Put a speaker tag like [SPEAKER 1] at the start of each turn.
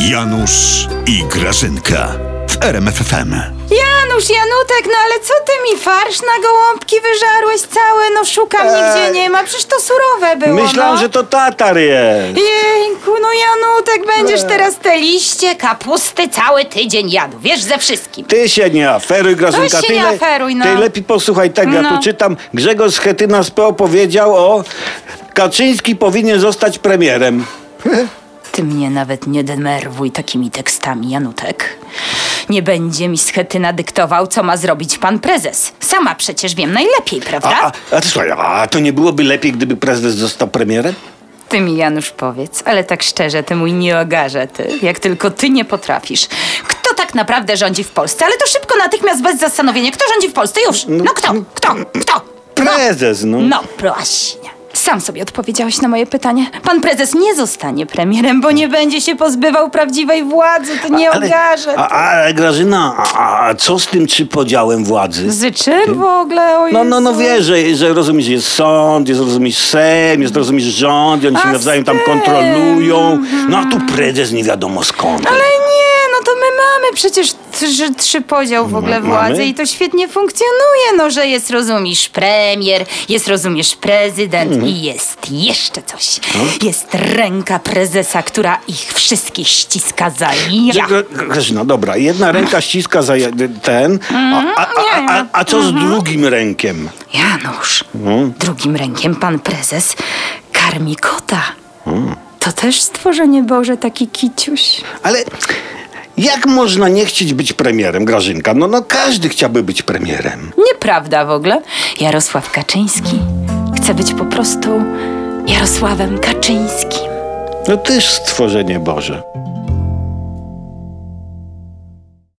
[SPEAKER 1] Janusz i Grażynka w RMFFM.
[SPEAKER 2] Janusz, Janutek, no ale co ty mi farsz na gołąbki wyżarłeś cały? No szukam, nigdzie
[SPEAKER 3] Ej.
[SPEAKER 2] nie ma, przecież to surowe było,
[SPEAKER 3] Myślałem,
[SPEAKER 2] no.
[SPEAKER 3] że to tatar jest.
[SPEAKER 2] Jejku, no Janutek, będziesz teraz te liście kapusty cały tydzień jadł, wiesz, ze wszystkim.
[SPEAKER 3] Ty się nie aferuj, Grażynka.
[SPEAKER 2] Weź się
[SPEAKER 3] ty
[SPEAKER 2] nie
[SPEAKER 3] le-
[SPEAKER 2] aferuj, no.
[SPEAKER 3] Ty lepiej posłuchaj tego. Ja
[SPEAKER 2] No.
[SPEAKER 3] tu czytam. Grzegorz Schetyna z PO powiedział o... Kaczyński powinien zostać premierem.
[SPEAKER 2] Ty mnie nawet nie denerwuj takimi tekstami, Janutek. Nie będzie mi schetyna dyktował, co ma zrobić pan prezes. Sama przecież wiem najlepiej, prawda?
[SPEAKER 3] A, a, a ty słuchaj, a to nie byłoby lepiej, gdyby prezes został premierem?
[SPEAKER 2] Ty mi, Janusz, powiedz, ale tak szczerze, ty mój nie ogarze, ty, jak tylko ty nie potrafisz. Kto tak naprawdę rządzi w Polsce? Ale to szybko, natychmiast, bez zastanowienia. Kto rządzi w Polsce? Już! No kto? Kto? Kto?
[SPEAKER 3] Prezes, no.
[SPEAKER 2] No właśnie. Sam sobie odpowiedziałeś na moje pytanie. Pan prezes nie zostanie premierem, bo nie będzie się pozbywał prawdziwej władzy. Ty nie ogarze.
[SPEAKER 3] A, ale Grażyna, a, a co z tym przypodziałem władzy?
[SPEAKER 2] Z czym w ogóle? O
[SPEAKER 3] No, no, no
[SPEAKER 2] Jezu.
[SPEAKER 3] wiesz, że, że rozumiesz, jest sąd, jest rozumiesz Sejm, jest rozumiesz rząd, i oni
[SPEAKER 2] A
[SPEAKER 3] się nawzajem tam
[SPEAKER 2] z tym. Mhm.
[SPEAKER 3] kontrolują. No a tu prezes nie wiadomo skąd.
[SPEAKER 2] Ale nie, no to my mamy przecież trzy, trzy podział w ogóle
[SPEAKER 3] mamy?
[SPEAKER 2] władzy i to świetnie funkcjonuje, no że jest, rozumiesz, premier, jest, rozumiesz, prezydent i jest jeszcze coś. Jest ręka prezesa, która ich wszystkich ściska za
[SPEAKER 3] Że-
[SPEAKER 2] ja.
[SPEAKER 3] Gra- Grażyna, dobra, jedna ręka ściska za jed- ten, a, a, a, a, a co z drugim rękiem?
[SPEAKER 2] Janusz, drugim rękiem pan prezes karmi kota. To też stworzenie Boże, taki kiciuś.
[SPEAKER 3] Ale jak można nie chcieć być premierem, Grażynka? No, no każdy chciałby być premierem.
[SPEAKER 2] Nieprawda w ogóle. Jarosław Kaczyński chce być po prostu Jarosławem Kaczyńskim.
[SPEAKER 3] No też stworzenie Boże.